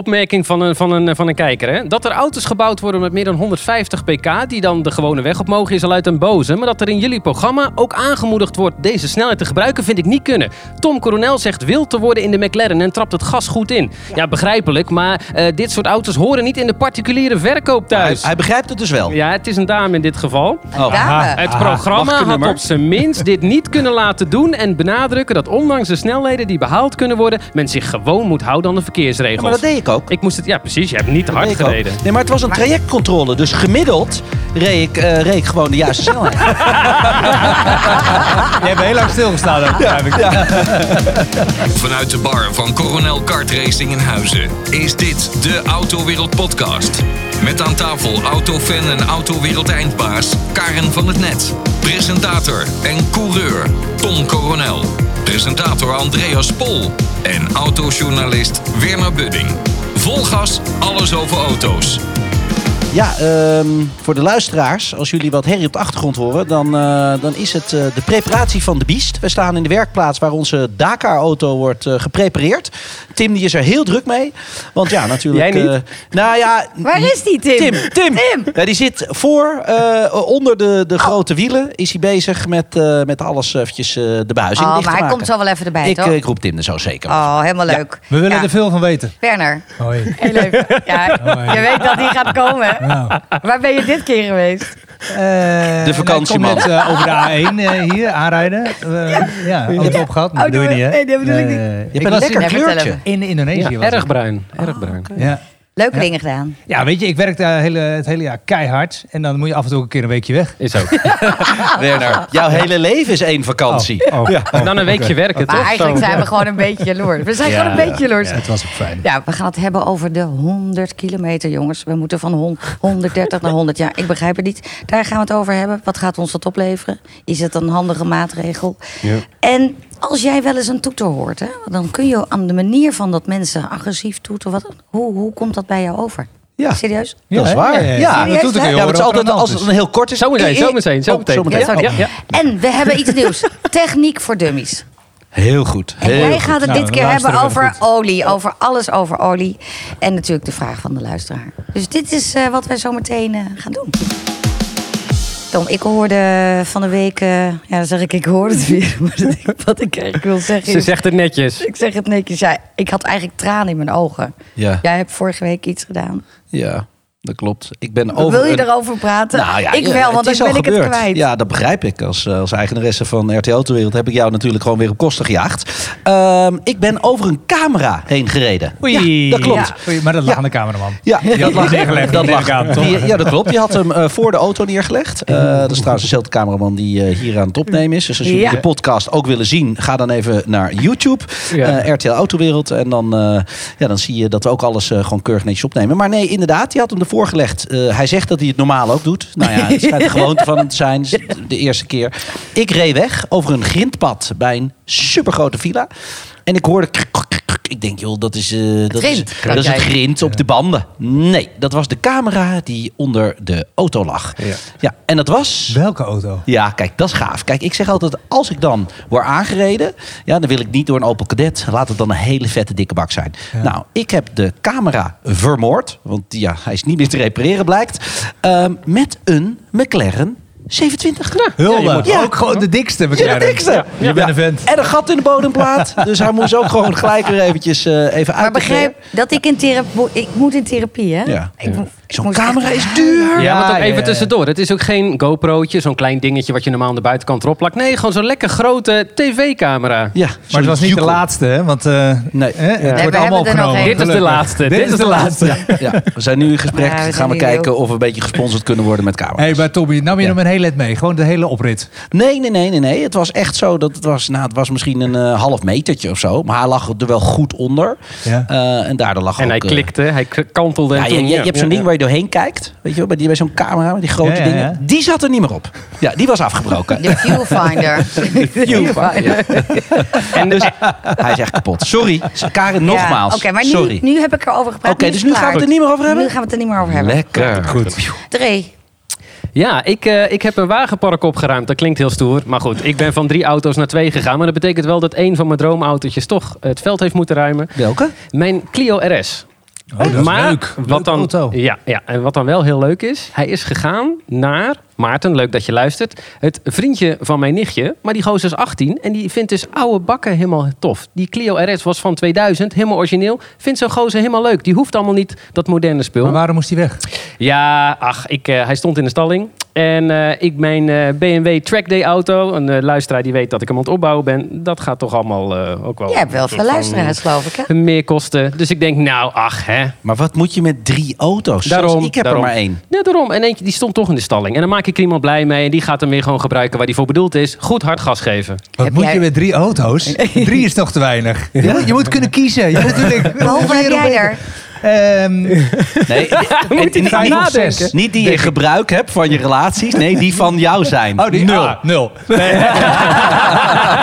opmerking van een, van een, van een kijker. Hè? Dat er auto's gebouwd worden met meer dan 150 pk... die dan de gewone weg op mogen, is al uit een boze. Maar dat er in jullie programma ook aangemoedigd wordt... deze snelheid te gebruiken, vind ik niet kunnen. Tom Coronel zegt wild te worden in de McLaren... en trapt het gas goed in. Ja, begrijpelijk, maar eh, dit soort auto's horen niet in de particuliere verkoop Hij, thuis. hij begrijpt het dus wel. Ja, het is een dame in dit geval. Oh. Dame. Het mag ik programma een had nummer? op zijn minst dit niet kunnen laten doen en benadrukken dat ondanks de snelheden die behaald kunnen worden, men zich gewoon moet houden aan de Ja, verkeersregels. maar dat deed ik ook. Ik moest het, ja precies, je hebt niet te hard Deed ik ook. gereden. Nee, maar het was een trajectcontrole. Dus gemiddeld reed ik, eh, reed ik gewoon de juiste snelheid. Je hebt heel lang stilgestaan. ook, begrijp ik. Vanuit de bar van Coronel Kart Racing in Huizen is dit de Autowereld Podcast. Met aan tafel autofan en autowereld eindbaas Karen van het Net. Presentator en coureur Tom Coronel. Presentator Andreas Pol. En autojournalist Werner Budding. Vol gas, alles over auto's. Ja, ehm, voor de luisteraars, als jullie wat herrie op de achtergrond horen, dan, eh, dan is het eh, de preparatie van de Biest. We staan in de werkplaats waar onze Dakar-auto wordt eh, geprepareerd. Tim die is er heel druk mee. Want ja, natuurlijk. Jij niet? eh, nou ja, Waar is die, Tim? Tim, Tim. Tim. Ja, die zit voor, eh, onder de, de grote wielen, is hij bezig met, eh, met alles eventjes eh, de buizing Oh, dicht maar te hij maken. komt zo wel even erbij, ik, toch? eh, ik roep Tim er zo zeker. Oh, helemaal leuk. We willen ja. er veel van weten. Eh, Werner, Hoi. heel leuk. Oh, Ja, Hoi. je weet dat die gaat komen. hè? Nou. Waar ben je dit keer geweest? de vakantieman. Ik kom net eh, over de A1 eh, hier aanrijden. Eh, ja, auto opgehad. maar Oh, dat doe je dat- niet, hè? Eh, nee, dat bedoel ik niet. Je ik hebt een was lekker Ja, vertel kleurtje. even. in, in Indonesië. Ja, was ik. erg bruin, Ah, erg bruin. Ja. Leuke dingen gedaan. ja, weet je, ik werk daar hele, het hele jaar keihard. En dan moet je af en toe ook een keer een weekje weg. Is ook. Oh, Ah, Werner, jouw hele leven is één vakantie. Oh, ja. En dan een weekje werken, Maar toch? eigenlijk Zo. zijn we gewoon een beetje jaloers. We zijn Ja, gewoon een beetje jaloers. het was ook fijn. Ja, we gaan het hebben over de 100 kilometer, jongens. We moeten van hon- 130 naar 100. Ja, ik begrijp het niet. Daar gaan we het over hebben. Wat gaat ons dat opleveren? Is het een handige maatregel? En als jij wel eens een toeter hoort, hè, dan kun je aan de manier van dat mensen agressief toeten. Wat, hoe, hoe komt dat bij jou over? Ja. Serieus? Dat is waar. Ja, Ja. dat doet ook heel Ja, maar het is altijd als het een heel kort is. Zo meteen, zo meteen, zo Oh, meteen. zometeen. Ja, sorry. Ja, ja. En we hebben iets nieuws. Techniek voor dummies. Heel goed. En Heel wij goed. gaan het Nou, dit we keer luisteren hebben even over goed. olie. Over alles over olie. En natuurlijk de vraag van de luisteraar. Dus dit is eh, wat wij zo meteen eh, gaan doen. Tom, ik hoorde van de week... eh, ja, dan zeg ik, ik hoorde het weer. Maar dat ik- wat ik eigenlijk wil zeggen Ze is... zegt het netjes. Ik zeg het netjes. Ja, ik had eigenlijk tranen in mijn ogen. Ja. Jij hebt vorige week iets gedaan. Ja, dat klopt. Ik ben Wat over... Wil je een- erover praten? Nou ja, ik ja, wel, want het dan is ben al ik het gebeurd. kwijt. Ja, dat begrijp ik. Als, eh, als eigenaresse van RTL Autowereld heb ik jou natuurlijk gewoon weer op kosten gejaagd. Ehm, ik ben over een camera heen gereden. Oei. Ja, dat klopt. Ja. Oei, maar dat lag aan de cameraman. Ja, Die had die neergelegd, Dat die lag. neergelegd, toch? Die- ja, dat klopt. Die had hem eh, voor de auto neergelegd. Eh, dat is trouwens dezelfde cameraman die eh, hier aan het opnemen is. Dus als jullie Ja. de podcast ook willen zien, ga dan even naar YouTube. Ja. eh, RTL Autowereld. En dan, eh, ja, dan zie je dat we ook alles eh, gewoon keurig netjes opnemen. Maar nee, inderdaad, die had hem ervoor gelegd. Eh, hij zegt dat hij het normaal ook doet. Nou ja, het schijnt de gewoonte van hem te zijn. Dus De eerste keer. Ik reed weg over een grindpad bij een supergrote villa. En ik hoorde... kruk, kruk, kruk, kruk. Ik denk, joh, dat is, eh, dat is, grind, dat dacht is het jij. grind op de banden. Nee, dat was de camera die onder de auto lag. Ja, en dat was... Welke auto? Ja, kijk, dat is gaaf. Kijk, ik zeg altijd, als ik dan word aangereden... Ja, dan wil ik niet door een Opel Cadet. Laat het dan een hele vette dikke bak zijn. Nou, ik heb de camera vermoord. Want ja, hij is niet meer te repareren, blijkt. ehm, met een McLaren 27. Hulde. Ja, je moet Ook gewoon de dikste. ja, McLaren. de dikste. Je bent een vent. En een gat in de bodemplaat. dus hij moest ook gewoon gelijk weer eventjes eh, even uit. Maar begrijp dat ik in therapie... Ik moet in therapie, hè? Ja. Ik mo- ik Zo'n moest echt camera is huilen. duur. Ja, maar ja, toch even ja. tussendoor. Het is ook geen GoPro'tje, zo'n klein dingetje wat je normaal aan de buitenkant erop plakt. Nee, gewoon zo'n lekker grote tv-camera. Ja, Maar het was niet de laatste, hè? Want eh, Nee. hè, het Nee, wordt we hebben allemaal er nog opgenomen. één. Dit is de Gelukkig. laatste. Dit is de laatste. Ja, we zijn nu in gesprek. Ja, we zijn gaan we nu heel- kijken of we een beetje gesponsord kunnen worden met camera's. Hé, hey, maar Tommy, nam je Ja. hem een hele let mee? Gewoon de hele oprit. Nee, nee, nee, nee, nee. Het was echt zo dat het was, nou, het was misschien een eh, half metertje of zo. Maar hij lag er wel goed onder. Ja. Eh, en daardoor lag En hij ook, eh, klikte, hij k- kantelde. en Ja, je, toen- je- je hebt zo'n ja, ding ja. waar je doorheen kijkt. Weet je wel, bij, die- bij zo'n camera, met die grote Ja, ja, dingen. ja. Die zat er niet meer op. Ja, die was afgebroken. De viewfinder. De viewfinder. En dus, Hij is echt kapot. Sorry, Karen, nogmaals. Ja, Oké, maar nu, Sorry. nu heb ik erover gepraat. Oké, is dus nu klaar. gaan we het er niet meer over hebben? Nu gaan we het er niet meer over hebben. Lekker. Goed. Dre, ja, ik, eh, ik heb een wagenpark opgeruimd. Dat klinkt heel stoer. Maar goed, ik ben van drie auto's naar twee gegaan. Maar dat betekent wel dat één van mijn droomautootjes toch het veld heeft moeten ruimen. Welke? Mijn Clio RS. Oh, dat is maar leuk. Wat Leuke dan, auto. Ja, ja, en wat dan wel heel leuk is, hij is gegaan naar Maarten, leuk dat je luistert. Het vriendje van mijn nichtje, maar die gozer is 18 en die vindt dus oude bakken helemaal tof. Die Clio RS was van 2000, helemaal origineel. Vindt zo'n gozer helemaal leuk. Die hoeft allemaal niet dat moderne spul. Maar waarom moest hij weg? Ja, ach, ik, eh, hij stond in de stalling. En eh, ik mijn eh, BMW Trackday auto, een eh, luisteraar die weet dat ik hem aan het opbouwen ben, dat gaat toch allemaal eh, ook wel. Jij hebt wel een soort veel van, luisteraars, geloof ik. Hè? eh, Meer kosten. Dus ik denk, nou, ach, hè. Maar wat moet je met drie auto's? Zelfs Daarom, ik heb daarom. er maar één. Ja, daarom. En eentje die stond toch in de stalling. En dan maak ik er iemand blij mee. En die gaat hem weer gewoon gebruiken waar die voor bedoeld is. Goed hard gas geven. Wat Heb moet jij- je met drie auto's? drie is toch te weinig. Je, moet, je moet kunnen kiezen. Je moet natuurlijk, Hoeveel heb jij er? Ehm, Nee, Moet hij niet gaan nog nadenken. zes. niet die je gebruik hebt van je relaties. Nee, die van jou zijn. Oh, die, Nul. ah, nul. Nee.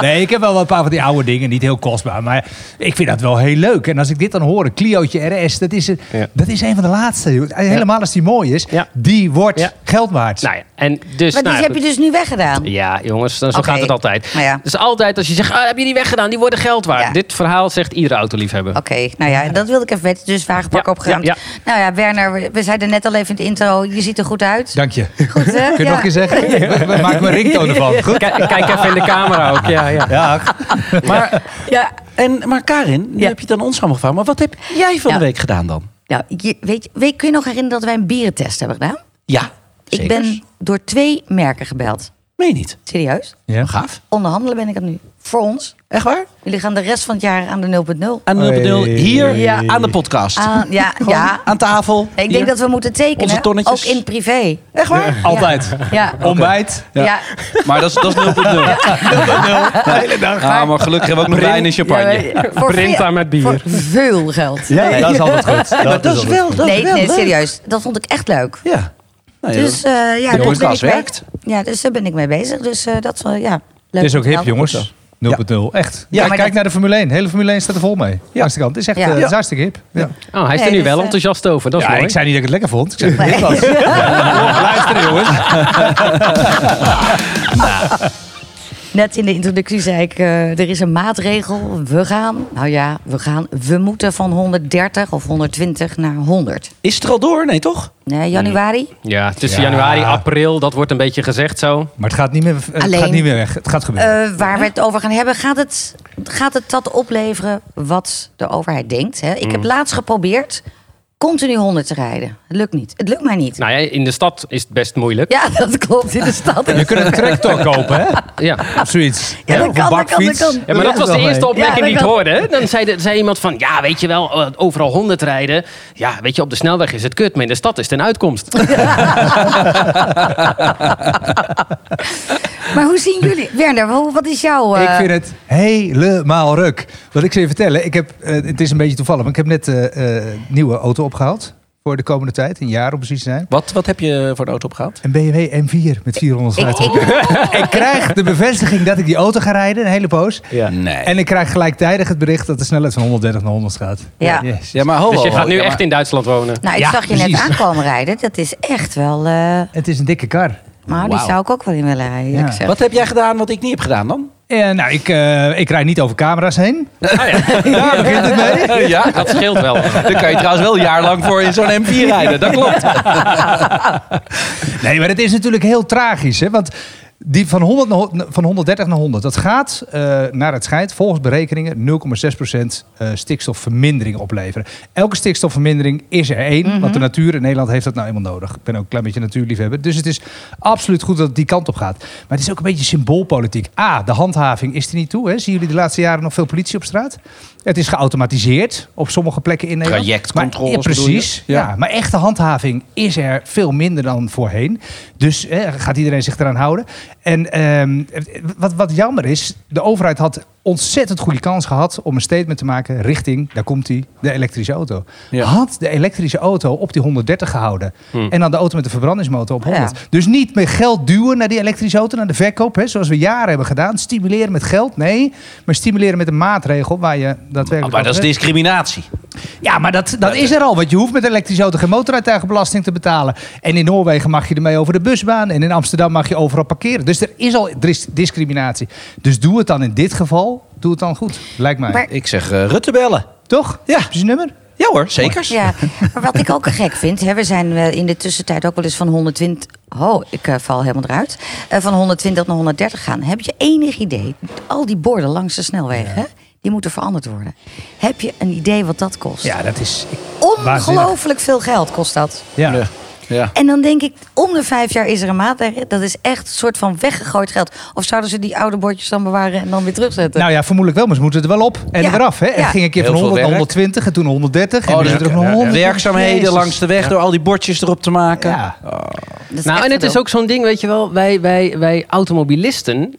nee, ik heb wel een paar van die oude dingen. Niet heel kostbaar, maar ik vind dat wel heel leuk. En als ik dit dan hoor, Clio'tje RS, dat is, een- Ja. dat is een van de laatste. joh. Helemaal als die mooi is, Ja. die wordt Ja. geld waard. Nou ja, en dus... Maar nou die ja, heb je goed. dus nu weggedaan. Ja, jongens, dan- zo Oké. gaat het altijd. Nou ja. Dus altijd als je zegt, ah, heb je die weggedaan? Die worden geld waard. Ja. Dit verhaal zegt iedere autoliefhebber. Oké, nou ja, dat wilde ik even weten. Dus wagenpak Ja, opgeruimd. ja, Nou ja, Werner, we- we zeiden net al even in de intro, je ziet er goed uit. Dank je. Goed, hè? Kun je Ja. nog eens zeggen? Maak Maak mijn ringtoon ervan. Goed? Kijk, kijk even in de camera ook. Ja, ja. Ja, Maar, Ja, en, maar Karin, nu Ja. heb je het aan ons allemaal gevraagd. Maar wat heb jij van Ja. de week gedaan dan? Nou, je, weet, je- weet, kun je nog herinneren dat wij een bierentest hebben gedaan? Ja, Ik zekers. ben door twee merken gebeld. Meen je niet. Serieus? ja. Gaaf. Onderhandelen ben ik het nu. Voor ons. Echt waar? Jullie gaan de rest van het jaar aan de 0.0. Aan 0.0 Hey. eh, hier Ja. aan de podcast. Aan- ja, ja. Aan tafel. Nee, ik Ah, hier. denk dat we moeten Onze tekenen. tonnetjes. Ook in privé. Echt waar? Altijd. Ja. Oh, Ontbijt. Ja. ja. Maar dat is, dat is 0.0. De hele dag. Ah, maar gelukkig hebben we ook nog wijn en champagne. maar- voor Printa veel- met bier. Voor veel geld. Ja, dat is altijd goed. Maar dat is wel, dat is nee, wel nee, leuk. serieus. Dat vond ik echt leuk. Ja. Nou, ja, Dus eh, ja, daar ben ik podcast mee, werkt. ja, dus daar ben ik mee bezig. Dus eh, dat wel, ja. Leuk Nou, Het is ook hip, verhaal. jongens. 0.0, echt. Ja, Ja, maar kijk dat- naar de Formule 1. De hele Formule 1 staat er vol mee. Ja. Langs de kant. Het is echt Ja. eh, het Ja. is hartstikke hip. Ja. Oh, hij is er Nee, nu dus, wel eh, enthousiast over. Dat is Ja, mooi. ik zei niet dat ik het lekker vond. Ik zei dat Nee. het lekker was. Luister jongens. Net in de introductie zei ik, eh, er is een maatregel. We gaan, nou ja, we gaan. We moeten van 130 of 120 naar 100. Is het er al door? Nee, toch? Nee, januari. Ja, tussen Ja. januari, april, dat wordt een beetje gezegd zo. Maar het gaat, niet meer, het Alleen- gaat niet meer weg. Het gaat gebeuren. Eh, waar we het over gaan hebben, gaat het, gaat het dat opleveren wat de overheid denkt? Hè? Ik Mm. heb laatst geprobeerd continu 100 te rijden. Het lukt niet. Het lukt mij niet. Nou ja, in de stad is het best moeilijk. Ja, dat klopt. In de stad. je kunt een tractor kopen, hè? Ja. Of zoiets. Ja, dat of kan, een dat kan, bakfiets. dat kan. Ja, maar dat was de eerste opmerking Ja, die ik dat- hoorde. hè. Dan zei, de- zei iemand van, ja, weet je wel, eh, overal 100 rijden. Ja, weet je, op de snelweg is het kut, maar in de stad is het een uitkomst. Oh, Maar hoe zien jullie? Werner, hoe- wat is jouw... eh, Ik vind het helemaal ruk. Wat ik ze je vertellen, ik heb, eh, het is een beetje toevallig, maar ik heb net eh eh, nieuwe auto opgehaald. Voor de komende tijd, een jaar om precies te zijn. Wat, wat heb je voor de auto opgehaald? Een BMW M4 met 450. Ik- ik krijg de bevestiging dat ik die auto ga rijden, een hele poos. Nee. En ik krijg gelijktijdig het bericht dat de snelheid van 130 naar 100 gaat. Ja. Yes. ja, maar ho, Dus je ho, gaat ho. nu Ja, echt maar- in Duitsland wonen. Nou, ik Ja, zag je net precies. aankomen rijden. Dat is echt wel... eh, Het is een dikke kar. maar die Wauw. zou ik ook wel in willen rijden. eerlijk Ja. gezegd. Wat heb jij gedaan wat ik niet heb gedaan dan? Eh, nou, ik, eh, ik rijd niet over camera's heen. Ja, begint het mee? Ja, Dat scheelt wel. daar kan je trouwens wel een jaar lang voor in zo'n M4 rijden. Dat klopt. Nee, maar het is natuurlijk heel tragisch. Hè? Want die van, 100 naar ho- van 130 naar 100, dat gaat eh, naar het schijnt volgens berekeningen 0,6% eh, stikstofvermindering opleveren. Elke stikstofvermindering is er één, want de natuur in Nederland heeft dat nou eenmaal nodig. Ik ben ook een klein beetje natuurliefhebber. Dus het is absoluut goed dat het die kant op gaat. Maar het is ook een beetje symboolpolitiek. A, de handhaving is er niet toe. Hè? Zien jullie de laatste jaren nog veel politie op straat? Het is geautomatiseerd op sommige plekken in Nederland. Trajectcontroles Maar- ja, bedoel je? Precies, ja. Ja. Maar echte handhaving is er veel minder dan voorheen. Dus eh, gaat iedereen zich eraan houden. En ehm, wat, wat jammer is, de overheid had ontzettend goede kans gehad om een statement te maken richting, daar komt hij, de elektrische auto. Ja. Hmm. Had de elektrische auto op die 130 gehouden en dan de auto met de verbrandingsmotor op 100. Ja. Dus niet meer geld duwen naar die elektrische auto, naar de verkoop, hè, zoals we jaren hebben gedaan. Stimuleren met geld, nee. Maar stimuleren met een maatregel waar je daadwerkelijk... Maar dat is over- discriminatie. ja, maar dat, dat is er al. Want je hoeft met een elektrische auto geen motoruituigenbelasting te betalen. En in Noorwegen mag je ermee over de busbaan. En in Amsterdam mag je overal parkeren. Dus er is al dis- discriminatie. Dus doe het dan in dit geval. Doe het dan goed, lijkt mij. Maar- Ik zeg eh, Rutte bellen. Toch? Ja. Heb je zijn nummer? Ja hoor, zeker. Ja, maar wat ik ook gek vind, hè, we zijn eh, in de tussentijd ook wel eens van 120. Oh, ik eh, val helemaal eruit. Eh, van 120 naar 130 gaan. Heb je enig idee? Al die borden langs de snelwegen, die moeten veranderd worden. Heb je een idee wat dat kost? Ja, dat is... ik- Ongelooflijk veel geld kost dat. Ja. Ja. Ja. En dan denk ik, om de vijf jaar is er een maatregel. Dat is echt een soort van weggegooid geld. Of zouden ze die oude bordjes dan bewaren en dan weer terugzetten? Nou ja, vermoedelijk wel, maar ze moeten er wel op en Ja. eraf. af. Hè? En Ja. ging een keer Heel van veel 100 naar werk. 120 en toen 130 en Oh, nu dus zit er ook nog ja, 100. werkzaamheden Jezus. langs de weg door al die bordjes erop te maken. Ja. Dat is Nou, echt en het is gedoe. ook zo'n ding, weet je wel, wij, wij, wij automobilisten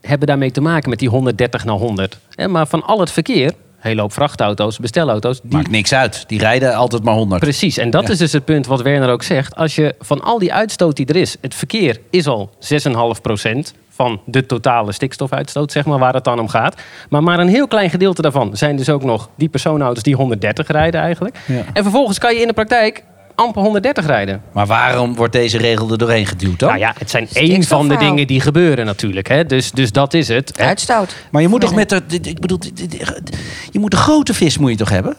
hebben daarmee te maken met die 130 naar 100. Hè, Maar van al het verkeer, een hele hoop vrachtauto's, bestelauto's, die Maakt niks uit. Die rijden altijd maar 100. Precies, en dat is dus het punt wat Werner ook zegt. Als je van al die uitstoot die er is, het verkeer is al 6,5% van de totale stikstofuitstoot, zeg maar, waar het dan om gaat. Maar maar een heel klein gedeelte daarvan zijn dus ook nog die personenauto's die 130 rijden eigenlijk. Ja. En vervolgens kan je in de praktijk amper 130 rijden. Maar waarom wordt deze regel er doorheen geduwd dan? Nou ja, het zijn één van de Stikstofverhaal. dingen die gebeuren natuurlijk. Hè? Dus, dus dat is het. Hè? Uitstoot. Maar je moet toch met de, dit- ik bedoel, dit- dit- je moet de grote vis moet je toch hebben?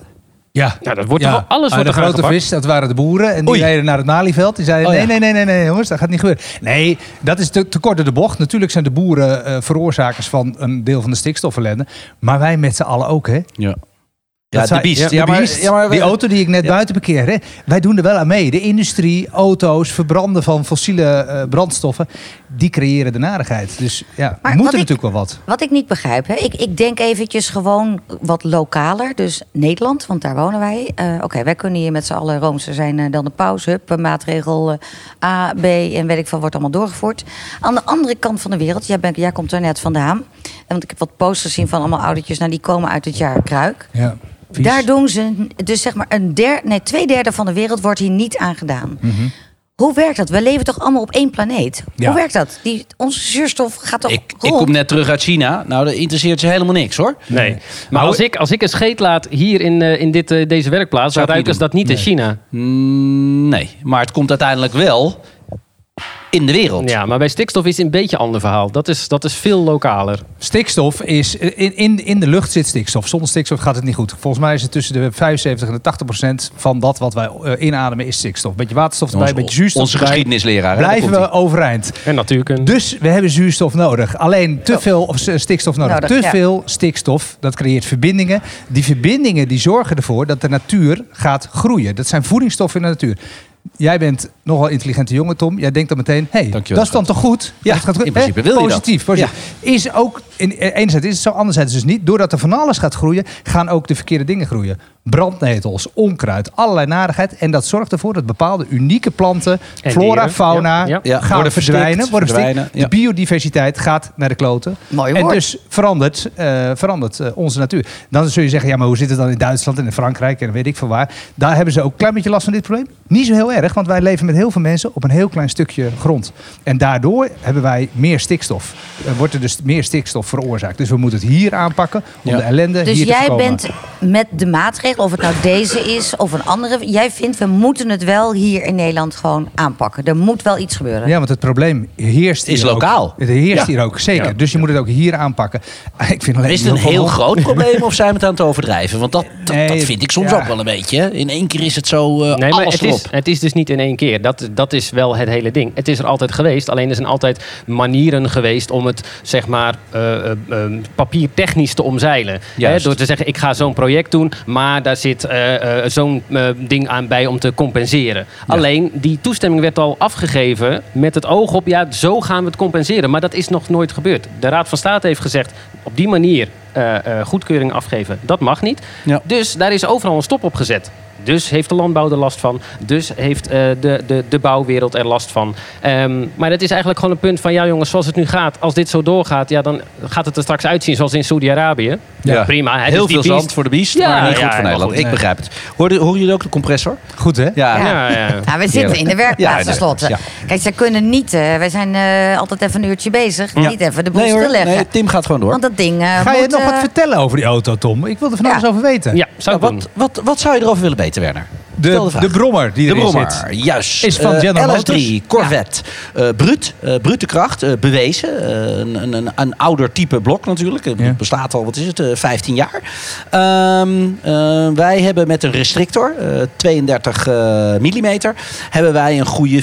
Ja. Nou, dat wordt toch wel- alles Maar wordt de er grote aangepakt. vis, dat waren de boeren. En die Oei. reden naar het Malieveld. Die zeiden, Oh, ja. nee, nee, nee, nee, nee, jongens, dat gaat niet gebeuren. Nee, dat is te, te kort door de bocht. Natuurlijk zijn de boeren eh, veroorzakers van een deel van de stikstofverlende. Maar wij met z'n allen ook, hè. Ja. Dat de zijn- biest. de biest. die auto die ik net buiten parkeer, hè, wij doen er wel aan mee. De industrie, auto's, verbranden van fossiele eh, brandstoffen, die creëren de narigheid. Dus ja, Maar we moet er wat ik- natuurlijk wel wat. Wat ik niet begrijp, hè? Ik, ik denk eventjes gewoon wat lokaler. Dus Nederland, want daar wonen wij. Eh, Oké, wij kunnen hier met z'n allen roomser zijn eh, dan de pauze. Hup, eh, maatregel eh, A, B en weet ik van wordt allemaal doorgevoerd. Aan de andere kant van de wereld, jij, bent, jij komt er net vandaan. En Want ik heb wat posters gezien van allemaal oudertjes. Nou, die komen uit het jaar Kruik. Ja, vies. Daar doen ze, dus zeg maar, een derde, nee, twee derde van de wereld wordt hier niet aan gedaan. Mhm. Hoe werkt dat? We leven toch allemaal op één planeet? Ja. Hoe werkt dat? Die, onze zuurstof gaat toch Ik, ik rond? kom net terug uit China. Nou, dat interesseert ze helemaal niks hoor. Nee. Maar als ik, als ik een scheet laat hier in, eh, in dit, eh, deze werkplaats, dan Zou ik niet ruiken ze dat niet in China. Mm, nee, maar het komt uiteindelijk wel in de wereld. Ja, maar bij stikstof is het een beetje een ander verhaal. Dat is, dat is veel lokaler. Stikstof is, in, in, in de lucht zit stikstof. Zonder stikstof gaat het niet goed. Volgens mij is het tussen de 75 en de 80 procent van dat wat wij eh, inademen is stikstof. Beetje waterstof erbij, Onze- beetje zuurstof onze erbij. geschiedenisleraar, hè, daar Blijven komt-ie. we overeind. En natuurkunde. Dus we hebben zuurstof nodig. Alleen te veel of eh, stikstof nodig. Nodig, te ja. veel stikstof, dat creëert verbindingen. Die verbindingen die zorgen ervoor dat de natuur gaat groeien. Dat zijn voedingsstoffen in de natuur. Jij bent nogal intelligente jongen, Tom. Jij denkt dan meteen, hé, hey, Dankjewel, dat is dan toch goed? Ja, Dat gaat goed. in principe Hè? wil je dat. positief, positief. Is ook, in, eh, enerzijds is het zo, anderzijds dus niet. Doordat er van alles gaat groeien, gaan ook de verkeerde dingen groeien. Brandnetels, onkruid, allerlei narigheid. En dat zorgt ervoor dat bepaalde unieke planten, En flora, dieren. fauna, Ja, ja. Ja, gaan worden verstikt, verdwijnen. Worden verstikt. verdwijnen, ja. De biodiversiteit gaat naar de kloten. Mooi en woord. dus verandert, eh, verandert eh, onze natuur. Dan zul je zeggen, ja, maar hoe zit het dan in Duitsland en in Frankrijk en weet ik veel waar. Daar hebben ze ook een klein beetje last van dit probleem. Niet zo heel erg, want wij leven met heel veel mensen op een heel klein stukje grond. En daardoor hebben wij meer stikstof. Er wordt er dus meer stikstof veroorzaakt. Dus we moeten het hier aanpakken om Ja. de ellende Dus hier te jij voorkomen. bent met de maatregel, of het nou deze is of een andere, jij vindt we moeten het wel hier in Nederland gewoon aanpakken. Er moet wel iets gebeuren. Ja, want het probleem heerst Is hier ook. lokaal. Het heerst Ja. hier ook, zeker. Dus je moet het ook hier aanpakken. Ik vind alleen Is het een veel heel hond- groot probleem of zijn we het aan het overdrijven? Want dat, dat, dat Nee, vind ik soms ja. ook wel een beetje. hè. In één keer is het zo eh Nee, maar alles het erop. is, het is dus niet in één keer. Dat, dat is wel het hele ding. Het is er altijd geweest. Alleen er zijn altijd manieren geweest om het zeg maar, eh, eh, eh, papiertechnisch te omzeilen. Hè, Juist. door te zeggen, ik ga zo'n project doen, maar daar zit eh, eh, zo'n eh, ding aan bij om te compenseren. Alleen die toestemming werd al afgegeven met het oog op, ja, zo gaan we het compenseren. Maar dat is nog nooit gebeurd. De Raad van State heeft gezegd, op die manier eh, eh, goedkeuring afgeven, dat mag niet. Ja. Dus daar is overal een stop op gezet. Dus heeft de landbouw er last van. Dus heeft eh, de, de, de bouwwereld er last van. Ehm, maar dat is eigenlijk gewoon een punt van... ja jongens, zoals het nu gaat, als dit zo doorgaat... Ja, dan gaat het er straks uitzien zoals in Saudi-Arabië. Ja. Prima. hè, Heel dus die veel beest- zand voor de biest, Ja, maar niet ja, goed voor ja, Nederland. goed. Ik begrijp het. Hoorden, horen jullie ook de compressor? Goed, hè? Ja. Ja, ja. Nou, we zitten in de Ja, werkplaats in de gesloten. werkplaats, Kijk, zij kunnen niet, eh, wij zijn eh, altijd even een uurtje bezig, niet even de boel Nee hoor, stilleggen. nee, Tim gaat gewoon door. Want dat ding eh, Ga je moet, nog eh, wat vertellen over die auto, Tom? Ik wil er van ja. alles over weten. Ja, zou Nou, ik doen. wat, wat, wat zou je erover willen weten, Werner? Stel de de, vraag. de brommer die De erin brommer, zit. juist. Is van Eh, General Motors. LS3, Corvette. Eh bruut, eh, brute kracht, eh, bewezen. Eh, een, een, een, een ouder type blok natuurlijk. Het Ja. bestaat al, wat is het, eh, 15 jaar. Ehm, eh, wij hebben met een restrictor, eh, 32 mm, hebben wij een goede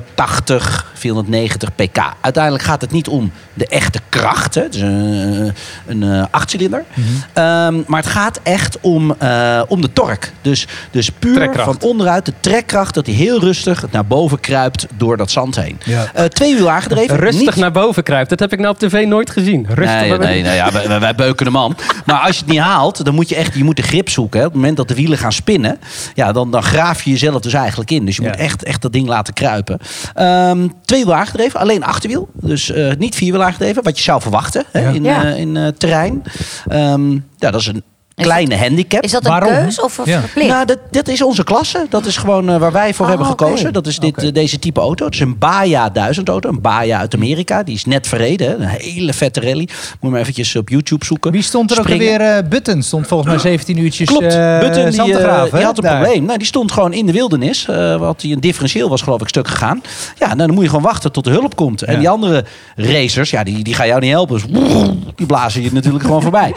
480, 490 pk. Uiteindelijk gaat het niet om de echte kracht. Hè. Het is een, een eh, achtcilinder. Mhm. Ehm, maar het gaat echt om, eh, om de torque. Dus, dus puur Trekkracht. van onderuit de trekkracht dat hij heel rustig naar boven kruipt door dat zand heen. Ja. Eh, twee wiel aangedreven. Rustig niet... naar boven kruipt. Dat heb ik nou op tv nooit gezien. Rustig Nee, naar nee, beneden. nee, nou ja, wij, wij- wij beuken hem aan. Maar als je het niet haalt, dan moet je echt je moet de grip zoeken. Hè. Op het moment dat de wielen gaan spinnen, ja, dan, dan graaf je jezelf dus eigenlijk in. Dus je Ja. moet echt, echt dat ding laten kruipen. Ehm, twee wiel aangedreven, alleen achterwiel. Dus eh, niet vier wiel aangedreven, wat je zou verwachten hè, Ja. in, Ja. eh, in eh, terrein. Ehm, ja, dat is een kleine handicap. Is dat een Waarom? keus of een Ja. verplicht? Nou, dat, dat is onze klasse. Dat is gewoon eh, waar wij voor Ah, hebben oké. gekozen. Dat is dit, Oké. eh, deze type auto. Het is een Baja 1000 auto. Een Baja uit Amerika. Die is net verreden. hè. Een hele vette rally. Moet je maar eventjes op YouTube zoeken. Wie stond er ook Springen. weer? eh, Button stond volgens mij 17 uurtjes Klopt, eh, Button die, zand te eh, graven, die hè? had een Daar. probleem. Nou, die stond gewoon in de wildernis. eh wat die een differentieel was, geloof ik, stuk gegaan. Ja, nou, dan moet je gewoon wachten tot de hulp komt. En Ja. die andere racers, ja, die, die gaan jou niet helpen. Dus die blazen je natuurlijk gewoon voorbij.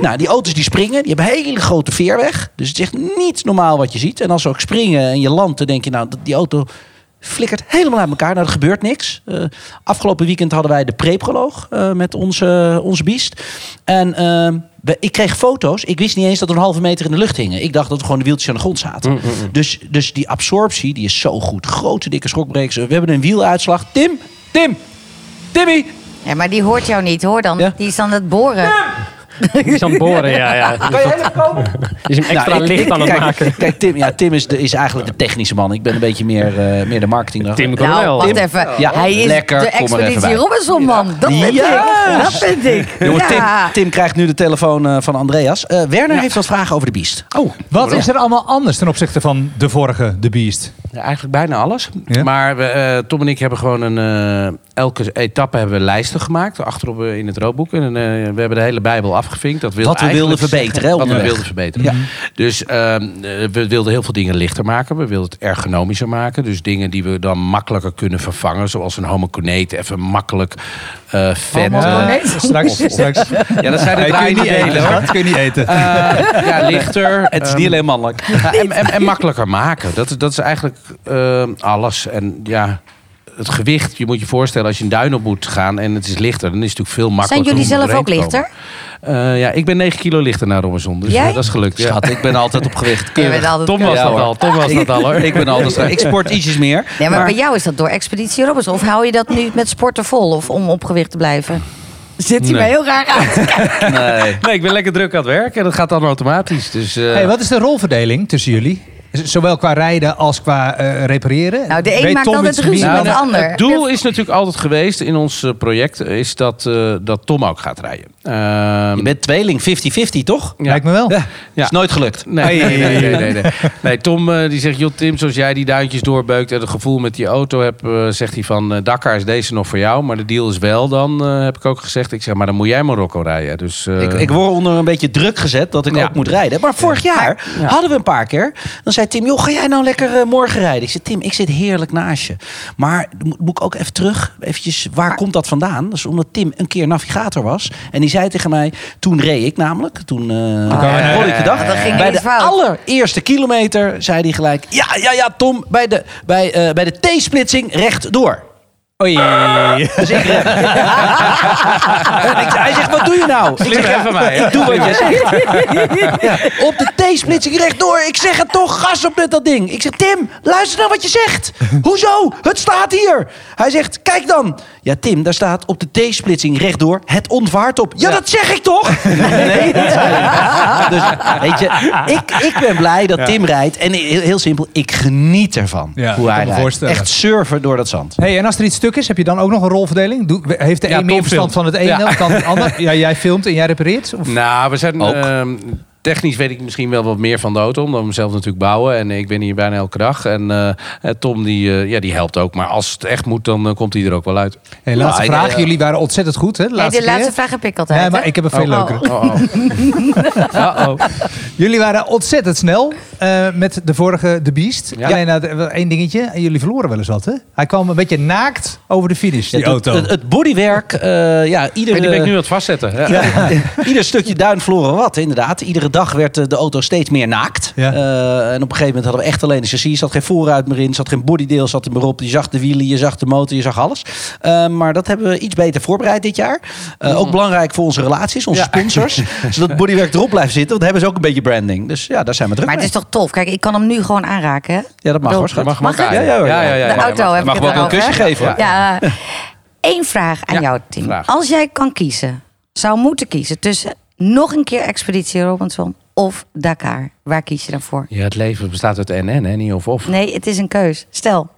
Nou, die auto's die springen, die hebben een hele grote veerweg. Dus het is echt niet normaal wat je ziet. En als ze ook springen en je landt, dan denk je, nou, dat- die auto flikkert helemaal uit elkaar. Nou, er gebeurt niks. Eh, afgelopen weekend hadden wij de preproloog eh, met onze, onze biest. En eh, we- ik kreeg foto's. Ik wist niet eens dat we een halve meter in de lucht hingen. Ik dacht dat we gewoon de wieltjes aan de grond Mm, zaten. dus, dus die absorptie, die is zo goed. Grote, dikke schokbrekers. We hebben een wieluitslag. Tim, Tim, Timmy. Ja, maar die hoort jou niet, hoor dan. Ja. Die is aan het boren. Die is aan het boren, ja. ja. Kan je even komen? Die is hem extra Nou, ik- licht aan het kijk, maken. Kijk, Tim, ja, Tim is, de, is eigenlijk de technische man. Ik ben een beetje meer, eh, meer de marketing. Tim Nou, Coronel. wacht even. Ja, Hij is lekker, de kom er even bij. Expeditie Robinson, man. Dat vind ik. Juist. Dat vind ik. Jongens, Tim, Ja. Tim krijgt nu de telefoon eh, van Andreas. Eh, Werner heeft wat vragen over de Beast. Oh, Wat is er allemaal anders ten opzichte van de vorige, The Beast? Ja, eigenlijk bijna alles. Ja? Maar we, eh, Tom en ik hebben gewoon een... eh, elke etappe hebben we lijsten gemaakt. Achterop eh, in het roodboek. En eh, we hebben de hele Bijbel afgevinkt. Dat wil Wat we eigenlijk wilden zeggen verbeteren, hè, Wat we onderweg. wilden verbeteren. Dus ehm, eh, we wilden heel veel dingen lichter maken. We wilden het ergonomischer maken. Dus dingen die we dan makkelijker kunnen vervangen. Zoals een homoconeet. Even makkelijk eh vet. Allemaal, eh, eh, straks, straks. ja, dat zijn de Nee, kun draai je niet niet eten, delen. hoor. hoor. Dat kun je niet eten. Eh, ja, lichter. Het is niet alleen mannelijk. Ja, en, en, en makkelijker maken. Dat, is- dat is eigenlijk ehm, alles. En ja, het gewicht. Je moet je voorstellen, als je een duin op moet gaan en het is lichter, dan is het natuurlijk veel Zijn makkelijker. jullie om zelf erheen ook te komen. lichter? Eh, ja, ik ben 9 kilo lichter naar Robinson. Dus Jij? eh, dat is gelukt. Ja. Schat, ik ben altijd op gewicht. Je bent altijd Tom keurig. was Ja, dat hoor. al. Tom was dat al hoor. Ik ben altijd strak. Ik sport ietsjes meer. Nee, maar, bij jou is dat door Expeditie Robinson. Of hou je dat nu met sporten vol of om op gewicht te blijven? Zit hij Nee. mij heel raar aan. Nee. Nee, ik ben lekker druk aan het werk en dat gaat dan automatisch. Dus, eh, Hey, wat is de rolverdeling tussen jullie? Z- Zowel qua rijden als qua eh, repareren? Nou, de een Weet maakt Tom altijd iets ruzie meer? met de Nou, ander. Het doel is natuurlijk altijd geweest in ons eh, project is dat, eh, dat Tom ook gaat rijden. Ehm, Je bent tweeling, 50-50, toch? ja. Lijkt me wel. Ja. Is nooit gelukt. Nee, nee, nee, nee, nee, nee. Nee, Tom eh, die zegt, joh Tim, zoals jij die duintjes doorbeukt en het gevoel met die auto hebt, eh, zegt hij van, eh, Dakar is deze nog voor jou, maar de deal is wel dan, eh, heb ik ook gezegd. Ik zeg, maar dan moet jij Marokko rijden. Dus, eh, Ik, ik word onder een beetje druk gezet dat ik Ja. ook moet rijden. Maar vorig jaar hadden we een paar keer. Dan zei Tim, joh, ga jij nou lekker eh, morgen rijden? Ik zei, Tim, ik zit heerlijk naast je. Maar mo- moet ik ook even terug? Eventjes, waar komt dat vandaan? Dat is omdat Tim een keer navigator was. En die zei tegen mij, toen reed ik namelijk. Toen eh ja, begon ik de dag. ja, ja, ja. Bij Ging de iets fout. allereerste kilometer zei hij gelijk... Ja, ja, ja, Tom, bij de, bij, eh, bij de T-splitsing rechtdoor. Oei. Dus ik rem. En ik- hij zegt, wat doe je nou? Ik zeg, ja, van mij, hè? Ik doe wat jij zegt. Ja, op de T-splitsing rechtdoor. Ik zeg het toch, gas op met dat ding. Ik zeg, Tim, luister naar wat je zegt. Hoezo? Het staat hier. Hij zegt, kijk dan. Ja, Tim, daar staat op de T-splitsing rechtdoor het onvaart op. Ja, dat zeg ik toch? Nee, dat zei hij. Dus, weet je, ik, ik ben blij dat Tim rijdt. En heel, heel simpel, ik geniet ervan. Ja, ik hoe kan hij me rijdt. voorstellen. Echt surfen door dat zand. Hey, en als er iets stuk is, heb je dan ook nog een rolverdeling? Doe- heeft de Ja, een meer Tom verstand van filmt. het ene dan het ander? Ja, jij filmt en jij repareert? Of? Nou, we zijn... Ook. ehm, Technisch weet ik misschien wel wat meer van de auto, omdat we hem zelf natuurlijk bouwen. En ik ben hier bijna elke dag. En eh, eh, Tom, die, eh, ja, die helpt ook. Maar als het echt moet, dan eh, komt hij er ook wel uit. Hey, laatste Nou, ik- eh, vraag. Jullie waren ontzettend goed, hè? De Nee, laatste, de laatste keer. vraag heb ik altijd. Nee, maar hè? ik heb een veel Oh. leukere. Oh, oh. Jullie waren ontzettend snel. eh, met de vorige De Beast. Ja. Alleen nou, wel één dingetje. Jullie verloren wel eens wat, hè? Hij kwam een beetje naakt over de finish, die Ja, het, auto. het, het bodywerk, eh, ja, ieder, En die ben ik nu aan het vastzetten. Ja. ieder stukje duin verloren wat, inderdaad. Iedere dag werd eh, de auto steeds meer naakt. Ja. Eh, en op een gegeven moment hadden we echt alleen de chassis. Zat geen voorruit meer in, zat geen bodydeel zat er meer op. Je zag de wielen, je zag de motor, je zag alles. Eh, maar dat hebben we iets beter voorbereid dit jaar. Eh, Mhm. Ook belangrijk voor onze relaties, onze sponsors. zodat bodywerk erop blijft zitten. Want dan hebben ze ook een beetje branding. Dus ja, daar zijn we druk Maar het mee. is toch tof? Kijk, ik kan hem nu gewoon aanraken, hè? Ja, dat mag hoor. schat. Mag, mag, Mag mag ik? Ja, ja, ja. De auto heb mag ik wel het een erover, kusje hè? geven. hoor. Ja. Eén vraag aan Ja, jou, Tim. vraag. Als jij kan kiezen, zou moeten kiezen tussen nog een keer Expeditie Robinson of Dakar. Waar kies je dan voor? Ja, het leven bestaat uit NN, hè? niet of of. Nee, het is een keus. Stel,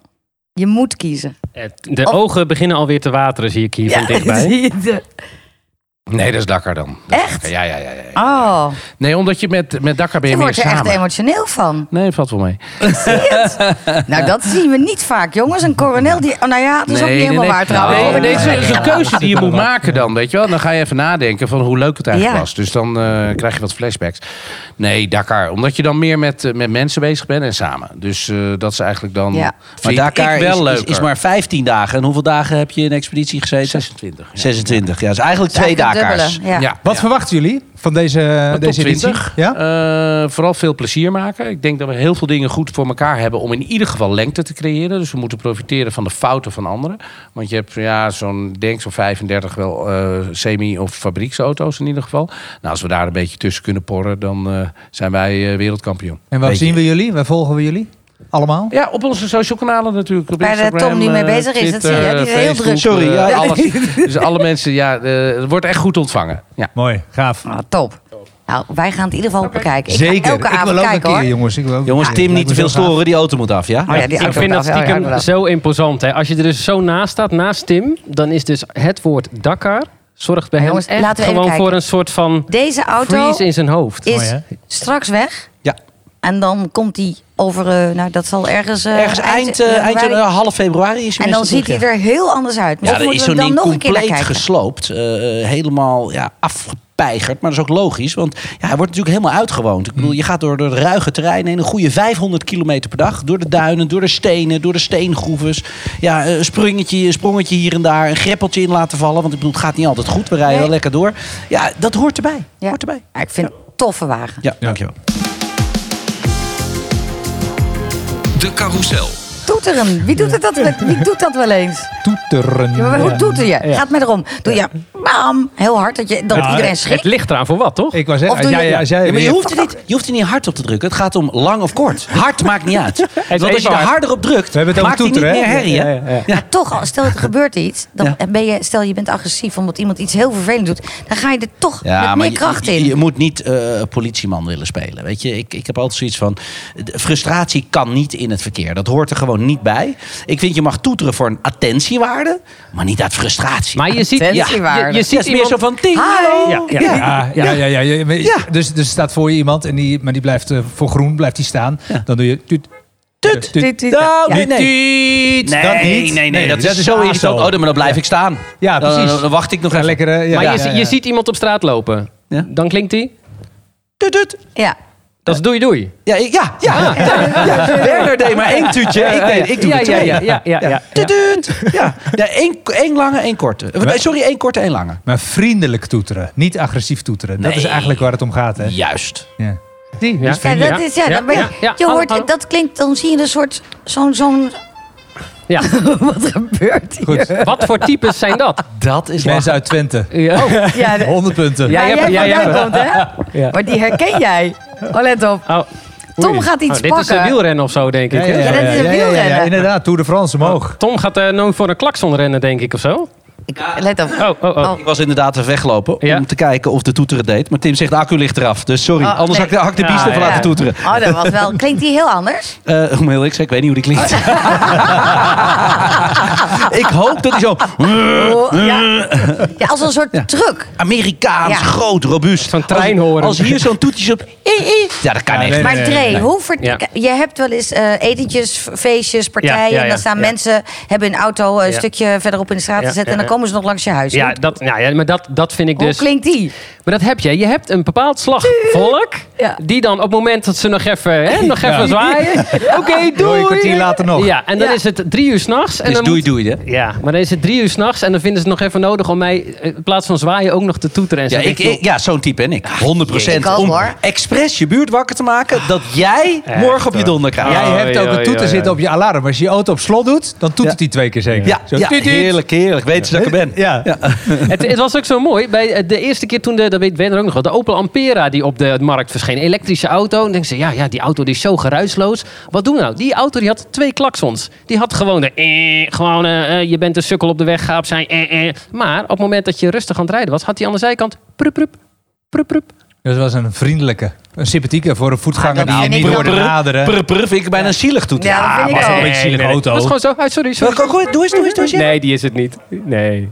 je moet kiezen. Eh, De Oh. ogen beginnen alweer te wateren, zie ik hier van dichtbij. zie je de- Nee, dat is Dakar dan. Dat is Echt? Dakar. Ja, ja, ja, ja. Oh, Nee, omdat je met, met Dakar ben je je meer wordt er echt samen. emotioneel van. Nee, valt wel mee. Nou, dat zien we niet vaak, jongens. Een coronel die... Oh, nou ja, dat is ook niet helemaal waar trouwens. Nou, Nee, hoor. nee, het is een keuze die je moet maken dan, weet je wel. Dan ga je even nadenken van hoe leuk het eigenlijk Ja. was. Dus dan eh, krijg je wat flashbacks. Nee, Dakar. Omdat je dan meer met, eh, met mensen bezig bent en samen. Dus eh, dat is eigenlijk dan... Ja. Maar Vind Dakar ik wel is, is, leuker. is maar 15 dagen. En hoeveel dagen heb je in expeditie gezeten? 26. 26, ja. Dus eigenlijk Het is twee eigenlijk het Dakars. dubbele, Ja. Ja. Wat verwachten jullie van deze, Top deze editie? 20. Ja? Eh, vooral veel plezier maken. Ik denk dat we heel veel dingen goed voor elkaar hebben om in ieder geval lengte te creëren. Dus we moeten profiteren van de fouten van anderen. Want je hebt ja, zo'n, denk zo'n 35 wel eh, semi- of fabrieksauto's in ieder geval. Nou, als we daar een beetje tussen kunnen porren, dan eh, zijn wij eh, wereldkampioen. En waar Weet je- zien we jullie? Waar volgen we jullie? Allemaal? Ja, op onze social kanalen natuurlijk. Op Waar de Instagram, Tom nu mee eh, bezig is, dat zie je. Twitter, Die is heel Facebook, druk. Sorry, eh, ja. alles. Dus alle mensen, ja, eh, het wordt echt goed ontvangen. Ja. Mooi, gaaf. Oh, top. Nou, wij gaan het in ieder geval bekijken. Ik ga Zeker. elke ik avond wil ook een kijken, keer, hoor. jongens. Ik wil ook Jongens, een keer. Tim, niet Lijkt te me veel zo gaaf. storen. Die auto moet af, ja? Oh ja, die ik auto vind dat af, ja, ja, stiekem inderdaad. zo imposant. Hè. Als je er dus zo naast staat, naast Tim, dan is dus het woord Dakar zorgt bij Ja, hem jongens, echt laten we even gewoon kijken. voor een soort van Deze auto freeze in zijn hoofd. is Mooi, hè? straks weg. Ja. En dan komt hij over, eh, nou dat zal ergens... eh, Ergens eind, eh, eind januari- januari, half februari is hij En dan meestal ziet hij terug, er heel anders uit. Ja, Misschien ja er is moeten zo'n we ding dan nog een keer naar compleet kijken. gesloopt. eh, eh, helemaal ja, afgepeigerd. Maar dat is ook logisch, want ja, hij wordt natuurlijk helemaal uitgewoond. Ik bedoel, je gaat door, door de ruige terrein heen. Een goede 500 kilometer per dag. Door de duinen, door de stenen, door de steengroeves. Ja, eh, een springetje, een sprongetje hier en daar. Een greppeltje in laten vallen. Want ik bedoel, het gaat niet altijd goed. We rijden Nee. wel lekker door. Ja, dat hoort erbij. Ja. Hoort erbij. Ja, ik vind het een toffe wagen. Ja, dankjewel. De carousel. Toeteren. Wie doet, het dat, wel- wie doet dat wel eens? Toeteren. Ja, maar hoe Ja. toeter je? Gaat met erom. Doe je bam, heel hard dat, je, dat Ja, iedereen Het schrikt. ligt eraan voor wat, toch? Ik was Of zeggen, doe ja, je- ja, als jij Ja, maar je weer- hoeft, er niet, je hoeft er niet hard op te drukken. Het gaat om lang of kort. Hard maakt niet uit. Want als je even er hard. harder op drukt, We hebben het over maakt hij niet toeteren, meer hè? herrie. hè? Ja, ja, ja. Maar toch, al- stel er gebeurt iets. Dan Ja. ben je, stel je bent agressief omdat iemand iets heel vervelend doet. Dan ga je er toch Ja, met maar meer je- kracht je, in. Je, moet niet eh, politieman willen spelen. Weet je, ik, ik heb altijd zoiets van. de Frustratie kan niet in het verkeer. Dat hoort er gewoon niet bij. Ik vind je mag toeteren voor een attentiewaarde, maar niet uit frustratie. Maar je ziet, Attentie je, waard. je Ja, het ziet is meer zo iemand... van ting. Hi. hallo. Ja, ja. Ja, ja, ja, ja, ja. Maar- Ja. Dus er staat voor je iemand, en die, maar die blijft eh, voor groen blijft die staan. Dan doe je... Tut, Tut. tut, Tut, tut. Nou, Ja. nee, nee. Dat nee, niet. nee, nee, Nee, dat, dat is is zo aso. irritant. Oh, dan, maar dan blijf ik staan. Ja, Dan- precies. Dan, dan wacht ik nog Ja, even. lekker, eh, ja, maar je, ja, zi- ja, je ja. ziet iemand op straat lopen. Ja. Dan klinkt hij. Tut, tut. Ja. Dat is doei doei. Ja, ik- ja, ja. ja, ja. Werner deed maar één tuutje. Ik, deed, ik doe ja, er ja, twee. ja, ja, ja, ja. Tuut. Ja, ja één, één lange, één korte. Eh, nee, Sorry, één korte, één lange. Maar vriendelijk toeteren, niet agressief toeteren. Dat is Nee. eigenlijk waar het om gaat, hè? Juist. Ja. Die, ja. Ja, dat is, ja, dan ben je, ja. je hoort, Hallo, hallo. dat klinkt, dan zie je een soort, zo'n, zo'n, Ja. wat gebeurt hier? Goed. Wat voor types zijn dat? Oh. Dat is Mensen uit Twente. Ja. Ja, de- 100 punten. Ja. waar jij jij hebt- jij vandaan komt, hè? Ja. Maar die herken jij. Oh, let op. Oh, Tom oei. Oh, gaat iets dit is een pakken. wielrennen of zo, denk ik. hè? Ja, dat is een wielrenner. inderdaad. Tour de France omhoog. Tom gaat eh nooit voor een klakson rennen, denk ik, of zo. Ik, let op. Oh, oh, oh. Ik was inderdaad even weglopen Ja. om te kijken of de toeter het deed. Maar Tim zegt de accu ligt eraf. Dus sorry, Oh, anders nee. had ik de, had ik de Ja, biest even ja. laten toeteren. Oh, dat was wel, klinkt die heel anders? Eh, om heel eerlijk te zijn, ik weet niet hoe die klinkt. ik hoop dat hij zo Oh, ja. ja, als een soort truc. Amerikaans, Ja. groot, robuust. Zo'n Als- treinhoorn. Als, hier zo'n toetje op... Ja, dat kan Ja, echt nee, niet. Maar nee, Dre, nee, nee. hoe ver- Ja. je hebt wel eens eh, etentjes, f- feestjes, partijen. Ja, ja, ja, en dan staan ja. mensen, hebben een auto een Ja. stukje verderop in de straat Ja, gezet. ja, en dan ja. komen ze nog langs je huis. Ja, hoe dat, nou ja, maar dat, dat vind ik hoe dus... Oh, klinkt die? Maar Maar dat heb je. Je hebt een bepaald slag volk. Ja. Die dan op het moment dat ze nog even, hè, nog even zwaaien. Oké, Doei, kwartier doei. later nog. Ja, en dan Ja. is het drie uur s'nachts. Dus doei doei, hè? Ja, maar dan is het drie uur s'nachts. En dan vinden ze het nog even nodig om mij eh, in plaats van zwaaien ook nog te toeteren. En zo. Ja, ik, ik- ja, zo'n type ben ik. 100% Ah, ik ook, om hoor. expres je buurt wakker te maken dat jij Echt, morgen op je hoor. donder krijgt. Jij Oh, hebt ook ja, een toeter ja, zitten ja. op je alarm. Als je je auto op slot doet, dan toetert Ja. hij twee keer zeker. Ja, Zo, ja, tuut, tuut. heerlijk, heerlijk. Weet ze dat ik er ben. Ja. het, het was ook zo mooi. Bij eh, de eerste keer toen de, dat weet Werner ook nog wel, de Opel Ampera die op de markt verscheen. Elektrische auto. En denken ze, ja, ja, die auto die is zo geruisloos. Wat doen we nou? Die auto die had twee klaksons. Die had gewoon de, eh, gewoon, eh, eh, je bent een sukkel op de weg, ga opzij. Eh, eh. Maar op het moment dat je rustig aan het rijden was, had hij aan de zijkant, prup, prup, prup, prup. Dat was een vriendelijke, een sympathieke voor een voetganger Ah, dat die je vind niet ik hoorde dan- naderen. Prr, prr, vind ik bijna zielig Ah, toe. Ja, dat vind ik ook. beetje zielige auto. Dat is gewoon zo. Ah, sorry, Wil sorry. ik ook ooit? Doe eens, doe eens, doe eens. ja. Nee, die is het niet. Nee.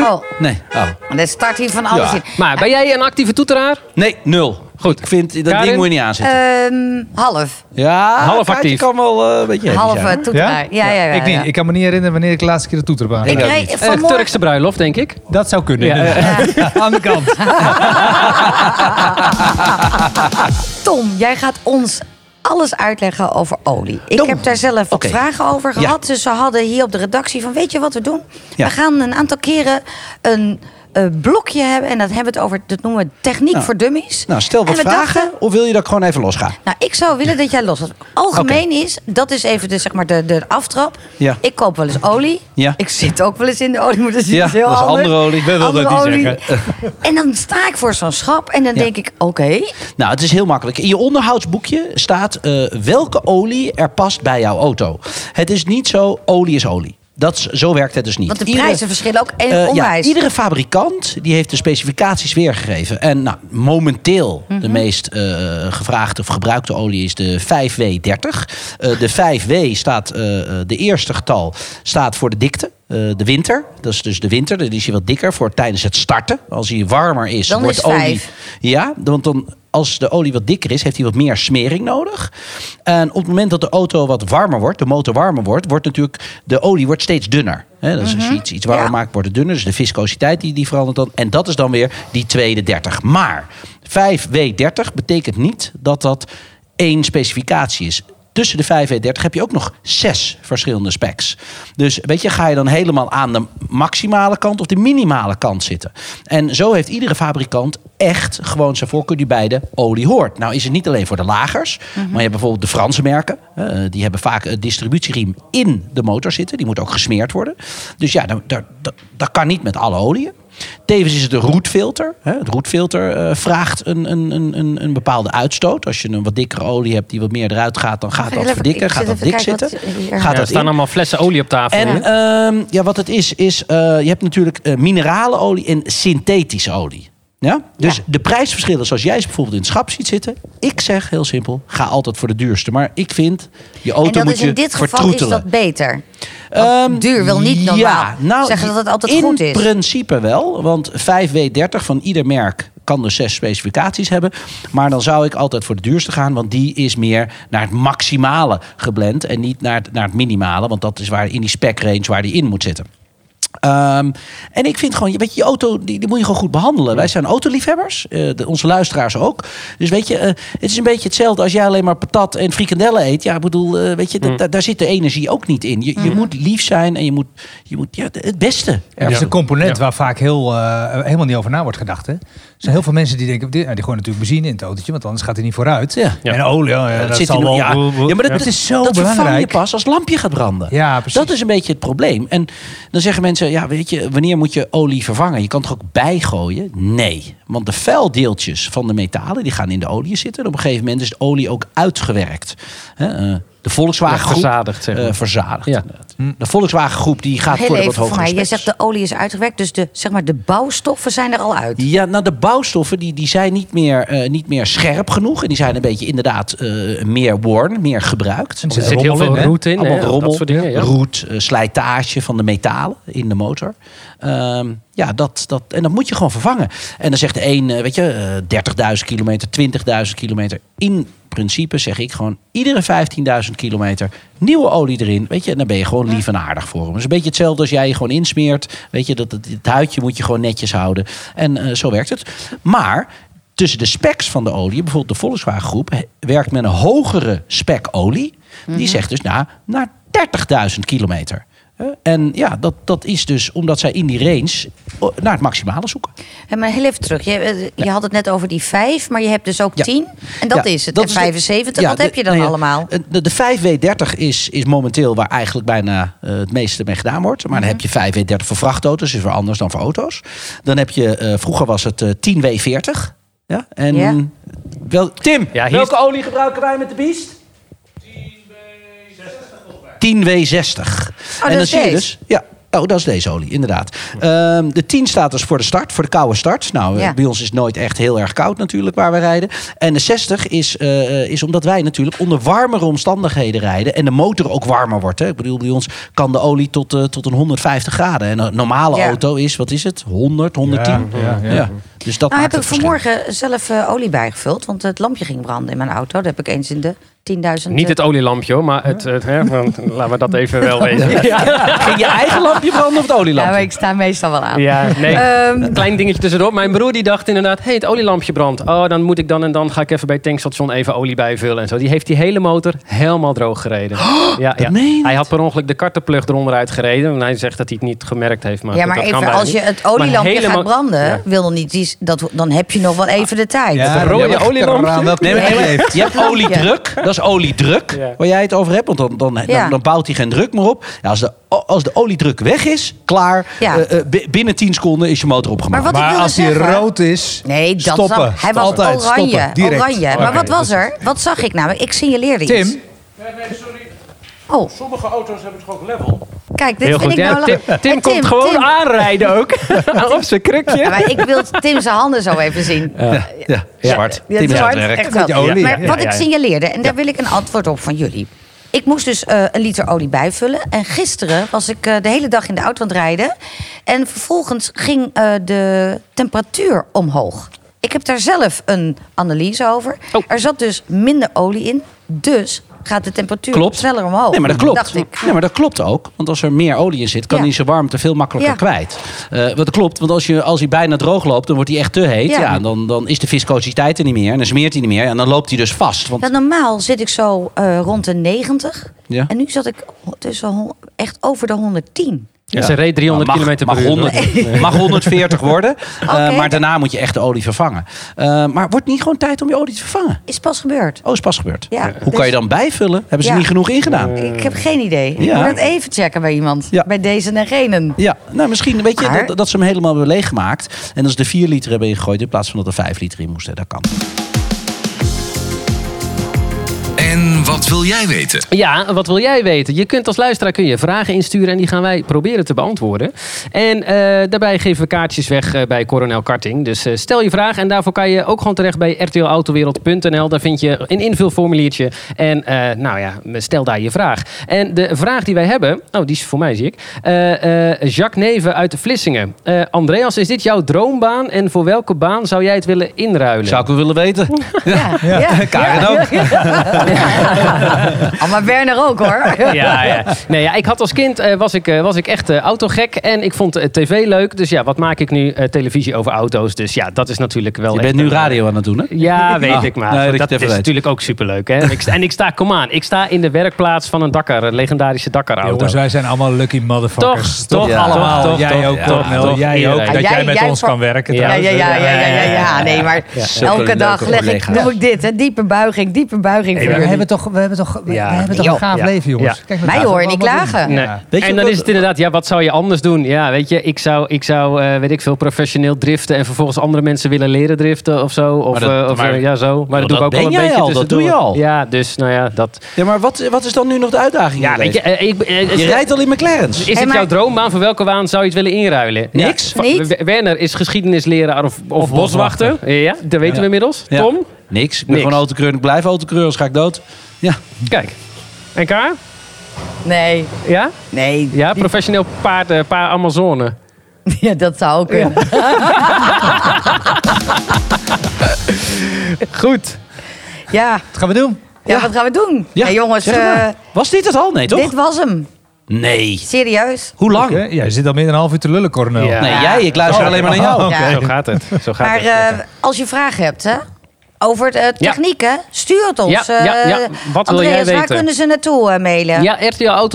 Oh, Nee. Oh. dat start hier van alles Ja. in. Maar ben jij een actieve toeteraar? Nee, nul. Goed. Ik vind, eh, dat Karin? ding moet je niet aanzetten. Ehm, half. ja, half Kaartje actief. kan wel eh, een beetje heavy Half zijn, eh, hoor. toeteraar. Ja, ja, ja. ik niet. ja. Ik kan me niet herinneren wanneer ik de laatste keer de toeter baan. Ik ook reed niet. Eh, vanmorgen- Turkse bruiloft, denk ik. Dat zou kunnen. Ja, eh, Aan de kant. Tom, jij gaat ons alles uitleggen over olie. Ik Tom. heb daar zelf wat Oké. vragen over gehad. Dus we hadden hier op de redactie van, weet je wat we doen? Ja. We gaan een aantal keren een eh, blokje hebben. En dat hebben we het over, dat noemen we techniek Nou. voor dummies. Nou, stel wat En we vragen. dachten- Of wil je dat ik gewoon even losga? nou, ik zou willen dat jij los was. Algemeen is, dat is even de, zeg maar de, de aftrap. Ja. Ik koop wel eens olie. Ja. Ik zit ook wel eens in de olie, maar dat is Ja, iets heel dat is anders. andere olie. Ik ben wel Andere dat niet olie. En dan sta ik voor zo'n schap en dan Ja. denk ik, oké. Nou, het is heel makkelijk. In je onderhoudsboekje staat eh, welke olie er past bij jouw auto. Het is niet zo, olie is olie. Dat, is- zo werkt het dus niet. Want de Iedere- prijzen verschillen ook en Eh, ja, onwijs. iedere fabrikant die heeft de specificaties weergegeven. En nou, momenteel de Mhm. meest eh, gevraagde of gebruikte olie is de 5W30. Eh, de 5W staat, eh, eh, de eerste getal staat voor de dikte. eh, de winter, dat is dus de winter, dan is hij wat dikker voor tijdens het starten. Als hij warmer is, Dan wordt is olie. vijf. Ja, want dan, als de olie wat dikker is, heeft hij wat meer smering nodig. En op het moment dat de auto wat warmer wordt, de motor warmer wordt, wordt natuurlijk de olie wordt steeds dunner. Hè, dus als je iets, iets warmer Ja. maakt, wordt het dunner. Dus de viscositeit die, die verandert dan. En dat is dan weer die tweede 30. Maar 5W30 betekent niet dat dat één specificatie is. Tussen de 5 en 30 heb je ook nog zes verschillende specs. Dus weet je, ga je dan helemaal aan de maximale kant of de minimale kant zitten. En zo heeft iedere fabrikant echt gewoon zijn voorkeur die bij de olie hoort. Nou is het niet alleen voor de lagers, maar je hebt bijvoorbeeld de Franse merken. eh, die hebben vaak een distributieriem in de motor zitten. Die moet ook gesmeerd worden. Dus ja, dat, dat, dat, dat kan niet met alle oliën. Tevens is het een roetfilter. hè. Het roetfilter eh, vraagt een, een, een, een, een bepaalde uitstoot. Als je een wat dikkere olie hebt die wat meer eruit gaat, dan gaat Even dat even- verdikken. ik Gaat zit dat even dik kijken zitten. wat hier- Gaat Ja, er dat staan in. allemaal flessen olie op tafel. En ehm, ja, wat het is, is eh, je hebt natuurlijk eh, mineralenolie en synthetische olie. Ja? Dus de prijsverschillen, zoals jij ze bijvoorbeeld in het schap ziet zitten. Ik zeg heel simpel, ga altijd voor de duurste. Maar ik vind, je auto en dat moet is je in dit geval is vertroetelen. dat beter. Ehm, nou, duur wil niet normaal zeggen dat het altijd in goed is. principe wel, want 5W30 van ieder merk kan dus zes specificaties hebben. Maar dan zou ik altijd voor de duurste gaan, want die is meer naar het maximale geblend en niet naar het, naar het minimale, want dat is waar in die spec range waar die in moet zitten. Ehm, en ik vind gewoon, je- weet je, je auto die, die moet je gewoon goed behandelen. Wij zijn autoliefhebbers, eh, de- onze luisteraars ook. Dus weet je, eh, het is een beetje hetzelfde als jij alleen maar patat en frikandellen eet. Ja, ik bedoel, eh, weet je, dat- daar- daar zit de energie ook niet in. Je, je moet lief zijn en je moet, je moet ja, het beste. Dat is ervan een component waar vaak heel, eh, helemaal niet over na wordt gedacht. Hè? Er zijn heel veel mensen die denken, die, die gooien natuurlijk benzine in het autootje, want anders gaat hij niet vooruit. Ja. Ja. En olie, oh, ja, dat, zit zal in- wel... ja. ja, maar dat, Het is zo dat vervang je belangrijk. pas als het lampje gaat branden. Ja, precies. Dat is een beetje het probleem. En dan zeggen mensen, ja, weet je, wanneer moet je olie vervangen? Je kan toch ook bijgooien? Nee, want de vuildeeltjes van de metalen, die gaan in de olie zitten. En op een gegeven moment is de olie ook uitgewerkt. Hè, eh, de Volkswagen Ja, groep, verzadigd, zeg maar. eh, verzadigd, Ja. inderdaad. De Volkswagen groep die gaat Heel voor de wat even voor hogere mij. Je specs. zegt de olie is uitgewerkt, dus de, zeg maar, de bouwstoffen zijn er al uit. Ja, nou de bouwstoffen die, die zijn niet meer, eh, niet meer scherp genoeg. En die zijn een beetje inderdaad eh, meer worn, meer gebruikt. er zit heel veel roet in. Allemaal hè, rommel, Dat soort dingen, ja. roet, eh, slijtage van de metalen in de motor. Ehm, ja, dat, dat, en dat moet je gewoon vervangen. En dan zegt de een, eh, weet je, eh, 30.000 kilometer, 20.000 kilometer. In principe zeg ik gewoon iedere 15.000 kilometer nieuwe olie erin. Weet je, en dan ben je gewoon lief en aardig voor hem. Het is een beetje hetzelfde als jij je gewoon insmeert. Weet je, dat, dat, het huidje moet je gewoon netjes houden. En eh, zo werkt het. Maar tussen de specs van de olie, bijvoorbeeld de Volkswagen groep, he- werkt men een hogere spec olie. Mhm. Die zegt dus nou, naar 30.000 kilometer. Eh, En ja, dat, dat is dus omdat zij in die range o- naar het maximale zoeken. Hé, maar heel even terug. Je, eh, je had het net over die vijf, maar je hebt dus ook Ja. tien. En dat Ja, is het. en de- 75, ja, wat de- heb je dan nou ja, allemaal? De, de 5W30 is, is momenteel waar eigenlijk bijna eh, het meeste mee gedaan wordt. Mhm. Maar dan heb je 5W30 voor vrachtauto's, is weer anders dan voor auto's. Dan heb je, eh, vroeger was het eh, 10W40. Ja, en Ja. Wel, Tim, Ja, hier welke olie gebruiken wij met de Beast? 10W60. Oh, dat en dan is zie je deze. dus... Ja, oh, dat is deze olie, inderdaad. Ehm, de 10 staat dus voor de start, voor de koude start. Nou, eh, Ja. bij ons is het nooit echt heel erg koud natuurlijk waar we rijden. En de 60 is, eh, is omdat wij natuurlijk onder warmere omstandigheden rijden... en de motor ook warmer wordt. Hè. Ik bedoel, bij ons kan de olie tot, eh, tot een 150 graden. En een normale Ja. auto is, wat is het? 100, 110? Ja, ja, ja. Dus dat Nou maakt heb het ik verschil. vanmorgen zelf eh, olie bijgevuld, want het lampje ging branden in mijn auto. Dat heb ik eens in de eh, 10.000... Niet het olielampje hoor, maar het, het, hè, want laten we dat even wel weten. Ja, Ging je eigen lampje branden of het Ja, olielampje? maar ik sta meestal wel aan. nee. Ehm, Klein dingetje tussendoor. Mijn broer die dacht inderdaad, hé, hey, het olielampje brandt. Oh, dan moet ik dan en dan ga ik even bij het tankstation even olie bijvullen en zo. Die heeft die hele motor helemaal droog gereden. Oh, ja, ja. meen je niet? Hij had per ongeluk de kartenplug eronder uit gereden. En hij zegt dat hij het niet gemerkt heeft. Maar ja, goed, maar dat even, kan bijna als je niet. het Maar olielampje helemaal- gaat branden, Ja. wil nog niet, die is- dat, dan heb je nog wel even de tijd. een rode olielampje? Nee, maar Nee, je hebt- je hebt lampje. oliedruk. Dat is oliedruk. Ja. Waar jij het over hebt. Want dan, dan, dan, Ja. dan bouwt hij geen druk meer op. Ja, als, de, als de oliedruk weg is, klaar. Ja. Eh, eh, bi- binnen 10 seconden is je motor opgemaakt. Maar wat ik Maar wilde als hij zeggen- rood is, Nee, dat stoppen. snap ik. Hij was Altijd oranje. stoppen, direct. oranje. Maar Oké, wat was dat er? Wat zag ik namelijk? Ik signaleerde iets. Tim, Nee, nee, sorry. Oh, Sommige auto's hebben het gewoon level. kijk, dit Heel vind goed. ik Ja, nou... Tim, lachen. Tim Hey, komt gewoon Tim. aanrijden ook. Op zijn Ja, krukje. maar ik wil Tim zijn handen zo even zien. ja, zwart. Ja, Tim is zwart, aan het werk. echt wel. je olie, Maar ja. wat Ja, ik ja. signaleerde, en daar wil ik een antwoord op van jullie. Ik moest dus eh, een liter olie bijvullen. En gisteren was ik eh, de hele dag in de auto aan het rijden. En vervolgens ging eh, de temperatuur omhoog. Ik heb daar zelf een analyse over. Oh. Er zat dus minder olie in. Dus gaat de temperatuur Klopt. sneller omhoog. Nee, maar dat klopt. oh, Dacht ik. Nee, maar dat klopt ook. Want als er meer olie in zit, kan Ja. hij zijn warmte veel makkelijker Ja. kwijt. Eh, wat dat klopt, want als, je, als hij bijna droog loopt, dan wordt hij echt te heet. Ja. Ja. dan, dan is de viscositeit er niet meer. En dan smeert hij niet meer. En dan loopt hij dus vast. Want Ja, normaal zit ik zo eh, rond de 90. Ja. En nu zat ik tussen hon- echt over de 110. En ze reed 300 Nou, mag, kilometer mag per uur. 100 Mag 140 worden. Eh, Oké. maar daarna moet je echt de olie vervangen. Eh, maar wordt niet gewoon tijd om je olie te vervangen? Is pas gebeurd. Oh, is pas gebeurd. Ja, Hoe dus- kan je dan bijvullen? Hebben ze Ja. niet genoeg ingedaan? Eh. Ik heb geen idee. Ja. Ik moet het even checken bij iemand. Ja. Bij deze en genen. Ja, nou misschien weet je Maar- dat, dat ze hem helemaal hebben leeggemaakt. En als de 4 liter hebben ingegooid in plaats van dat er 5 liter in moesten. Dat kan. En wat wil jij weten? Ja, wat wil jij weten? Je kunt als luisteraar kun je vragen insturen en die gaan wij proberen te beantwoorden. En eh, daarbij geven we kaartjes weg eh, bij Coronel Karting. Dus eh, stel je vraag en daarvoor kan je ook gewoon terecht bij rtlautowereld.nl. Daar vind je een invulformuliertje en eh, nou ja, stel daar je vraag. En de vraag die wij hebben, oh die is voor mij zie ik, Eh, eh, Jacques Neven uit Vlissingen. Eh, Andreas, is dit jouw droombaan en voor welke baan zou jij het willen inruilen? Zou ik wel willen weten. Ja. Ja. Karen ook. Oh, maar Werner ook hoor. ja, ja. Nee, ja, ik had als kind eh, was, ik, eh, was ik echt eh, autogek en ik vond eh, tv leuk. Dus ja, wat maak ik nu? Eh, televisie over auto's. Dus ja, dat is natuurlijk wel. Je echt bent nu een- eh, radio aan het doen, hè? Ja, weet Ah, ik maar. nee, dat dat je het even is weet. natuurlijk ook superleuk. Hè? Ik, sta- en ik sta, kom aan, ik sta in de werkplaats van een Dakar, een legendarische Dakar-auto. jongens, wij zijn allemaal lucky motherfuckers. Toch, toch Ja. allemaal. toch, jij toch, ook, toch, toch, Nel? toch, jij ook, iedereen. dat Ja, jij jij- met jij ons voor- kan werken. Ja, Ja, trouwens. ja, ja, ja, ja, ja, ja. Nee, maar Zulke elke leuke dag leg ik, collega's. doe ik dit en diepe buiging, diepe buiging Hey, voor maar we jullie. hebben toch, we hebben toch, we, Ja. we hebben toch Ja. een gaaf Ja. leven, jongens. Ja. Kijk naar Mij wat we hoor je niet allemaal klagen. doen. Nee. Ja. Weet je en dan wat- is het inderdaad, ja, wat zou je anders doen? Ja, weet je, ik zou, ik zou eh, weet ik veel, professioneel driften en vervolgens andere mensen willen leren driften of zo. Of, Maar dat- eh, of, maar- eh, ja, zo. Maar dat dat doe ik ook ben al een jij beetje al, dat doe je tussendoor. al. Ja, dus nou ja, dat. Ja, maar wat, wat is dan nu nog de uitdaging? in Ja, je weet je, leven? eh, ik, eh, is, Je rijdt al in McLaren's. is Hey, het maar- jouw droombaan? Voor welke baan zou je het willen inruilen? Niks. Ja. Va- Niet? W- Werner is geschiedenisleraar of, of, boswachter. Ja, dat weten we inmiddels. Ja. Tom? Niks. Ik ben Niks. gewoon autocreur en ik blijf autocreur, anders ga ik dood. Ja. Kijk. En Kaar? Nee, Ja? nee. Ja, professioneel paard, eh, paar Amazone. Ja, dat zou ook kunnen. Goed. Ja, Ja, Wat gaan we doen? ja, Ja. wat gaan we doen? Ja, Ja, jongens, zeg het maar. eh, was dit het al? Nee, toch? dit was hem. Nee. Serieus. Hoe lang? Oké, Ja, jij zit al meer dan een half uur te lullen, Cornel. Ja. Oh, Nee, jij. Ik luister alleen maar naar jou. Ja. Zo gaat het. Zo gaat Maar het. eh, als je vragen hebt, hè? Over de eh, techniek, hè? Stuur het ons. Ja, ja, eh, ja. Wat wil jij Andreas, waar weten? kunnen ze naartoe eh, mailen? Ja,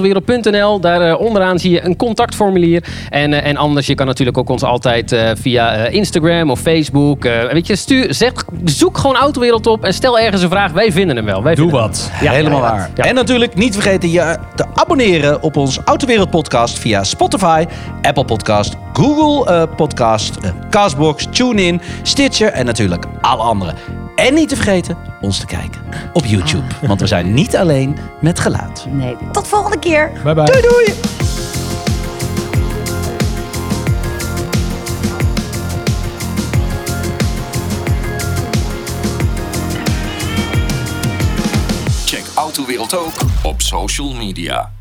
rtlautowereld.nl. Daar eh, onderaan zie je een contactformulier. En, eh, en anders, je kan natuurlijk ook ons altijd eh, via eh, Instagram of Facebook. eh, weet je, stuur, zeg, zoek gewoon Autowereld op en stel ergens een vraag. Wij vinden hem wel. Wij Doe vinden hem. wat. Ja, Helemaal ja, waar. ja. En natuurlijk niet vergeten je te abonneren op ons Autowereld podcast via Spotify, Apple Podcast, Google eh, Podcast, eh, Castbox, TuneIn, Stitcher en natuurlijk alle andere. En niet te vergeten ons te kijken op YouTube, Ah. want we zijn niet alleen met geluid. Nee. Tot volgende keer. Bye bye. doei! Check Autowereld ook op social media.